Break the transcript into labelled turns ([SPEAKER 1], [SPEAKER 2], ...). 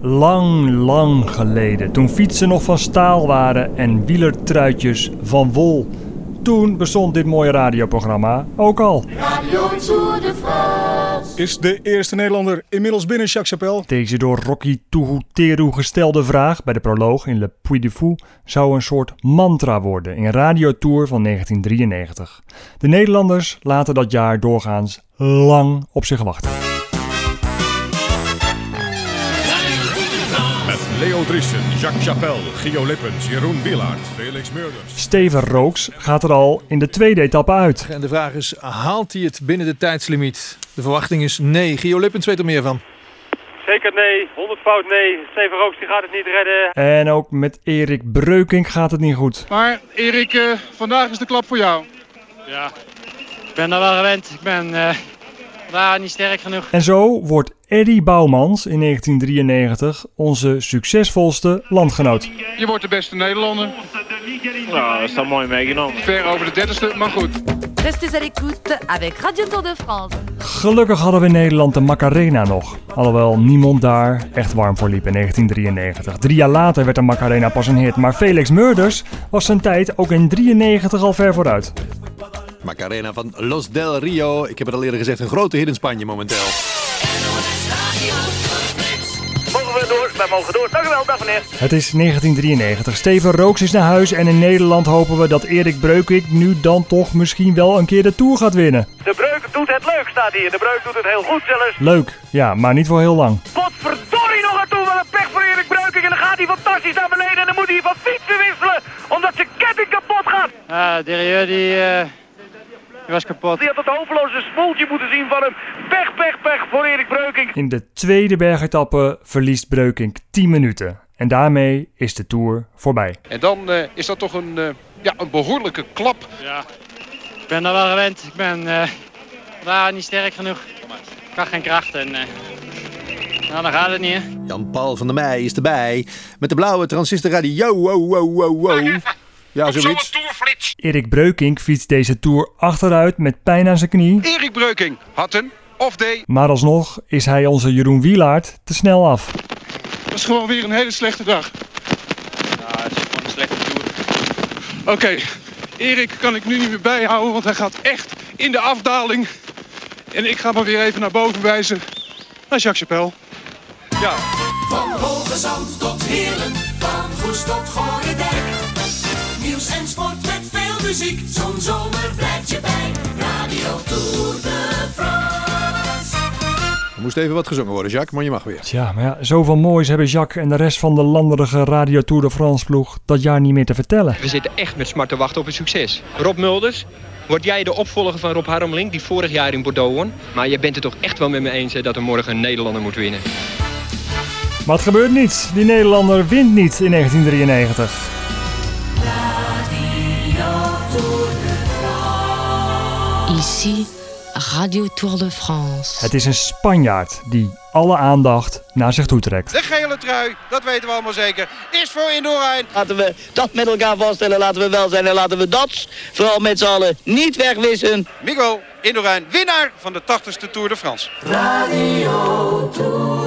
[SPEAKER 1] Lang, lang geleden, toen fietsen nog van staal waren en wielertruitjes van wol. Toen bestond dit mooie radioprogramma ook al.
[SPEAKER 2] Radio Tour de France.
[SPEAKER 3] Is de eerste Nederlander inmiddels binnen Jacques Chapelle?
[SPEAKER 1] Deze door Rocky Teru gestelde vraag bij de proloog in Le Puy de Fou zou een soort mantra worden in Radiotour van 1993. De Nederlanders laten dat jaar doorgaans lang op zich wachten.
[SPEAKER 3] Met Leo Driessen, Jacques Chapelle, Gio Lippens, Jeroen Wielaert, Felix Meurders.
[SPEAKER 1] Steven Rooks gaat er al in de tweede etappe uit.
[SPEAKER 4] En de vraag is, haalt hij het binnen de tijdslimiet? De verwachting is nee. Gio Lippens weet er meer van.
[SPEAKER 5] Zeker nee, 100 fout nee. Steven Rooks die gaat het niet redden.
[SPEAKER 1] En ook met Erik Breukink gaat het niet goed.
[SPEAKER 6] Maar Erik, eh, vandaag is de klap voor jou.
[SPEAKER 5] Ja, ik ben daar wel gewend. Ik ben eh, daar niet sterk genoeg.
[SPEAKER 1] En zo wordt Eddy Bouwmans in 1993 onze succesvolste landgenoot.
[SPEAKER 6] Je wordt de beste Nederlander.
[SPEAKER 5] Nou, dat is dan mooi meegenomen.
[SPEAKER 6] Ver over de dertigste, maar goed.
[SPEAKER 7] Restez à l'écoute avec Radio Tour de France.
[SPEAKER 1] Gelukkig hadden we in Nederland de Macarena nog. Alhoewel niemand daar echt warm voor liep in 1993. Drie jaar later werd de Macarena pas een hit. Maar Felix Murders was zijn tijd ook in 93 al ver vooruit.
[SPEAKER 8] Macarena van Los del Rio. Ik heb het al eerder gezegd, een grote hit in Spanje momenteel.
[SPEAKER 5] Mogen we door? Wij mogen door. Dank u wel, dag meneer.
[SPEAKER 1] Het is 1993. Steven Rooks is naar huis en in Nederland hopen we dat Erik Breukink nu dan toch misschien wel een keer de Tour gaat winnen.
[SPEAKER 5] De breuk doet het leuk, staat hier. De breuk doet het heel goed zelfs.
[SPEAKER 1] Leuk, ja, maar niet voor heel lang.
[SPEAKER 5] Potverdorie nog aan toe. Wat een pech voor Erik Breukink. En dan gaat hij fantastisch naar beneden. En dan moet hij van fietsen wisselen. Omdat zijn ketting kapot gaat.
[SPEAKER 9] Ah, Derieux die, eh, die was kapot.
[SPEAKER 5] Die had dat hopeloze spoeltje moeten zien van hem. Pech, pech, pech voor Erik Breukink.
[SPEAKER 1] In de tweede bergetappe verliest Breukink 10 minuten. En daarmee is de Tour voorbij.
[SPEAKER 6] En dan eh, is dat toch een, eh, ja, een behoorlijke klap.
[SPEAKER 9] Ja, ik ben daar wel gewend. Ik ben eh, daar niet sterk genoeg. Ik had geen kracht en eh, nou, dan gaat het niet, hè.
[SPEAKER 8] Jan-Paul van der Meij is erbij. Met de blauwe transistorradio. Yo, wow, wow, wow, wow. Ja, zoiets.
[SPEAKER 1] Erik Breukink fietst deze Tour achteruit met pijn aan zijn knie.
[SPEAKER 6] Erik Breuking had een off day.
[SPEAKER 1] Maar alsnog is hij onze Jeroen Wielaert te snel af.
[SPEAKER 6] Dat is gewoon weer een hele slechte dag.
[SPEAKER 9] Nou, het is gewoon een slechte toer.
[SPEAKER 6] Oké, Erik kan ik nu niet meer bijhouden, want hij gaat echt in de afdaling. En ik ga maar weer even naar boven wijzen. Naar Jacques Chapelle. Ja,
[SPEAKER 2] Van hoge zand tot heerlen, van Goes tot Gorendijk. Nieuws en sport met veel muziek, zo'n zomer blijft je bij. Radio Tour de France.
[SPEAKER 8] Er moest even wat gezongen worden, Jacques, maar je mag weer.
[SPEAKER 1] Tja, maar ja, zoveel moois hebben Jacques en de rest van de landerige Radio Tour de France ploeg dat jaar niet meer te vertellen.
[SPEAKER 10] We zitten echt met smart te wachten op een succes. Rob Mulders, word jij de opvolger van Rob Harmeling, die vorig jaar in Bordeaux won? Maar je bent het toch echt wel met me eens hè, dat er morgen een Nederlander moet winnen?
[SPEAKER 1] Maar het gebeurt niet. Die Nederlander wint niet in 1993.
[SPEAKER 2] Radio Tour de France.
[SPEAKER 7] Ici, Radio Tour de France.
[SPEAKER 1] Het is een Spanjaard die alle aandacht naar zich toe trekt.
[SPEAKER 6] de gele trui, dat weten we allemaal zeker, is voor Indoorijn.
[SPEAKER 11] Laten we dat met elkaar vaststellen, laten we wel zijn en laten we dat vooral met z'n allen niet wegwissen.
[SPEAKER 6] Miguel Indoorijn, winnaar van de 80ste Tour de France.
[SPEAKER 2] Radio Tour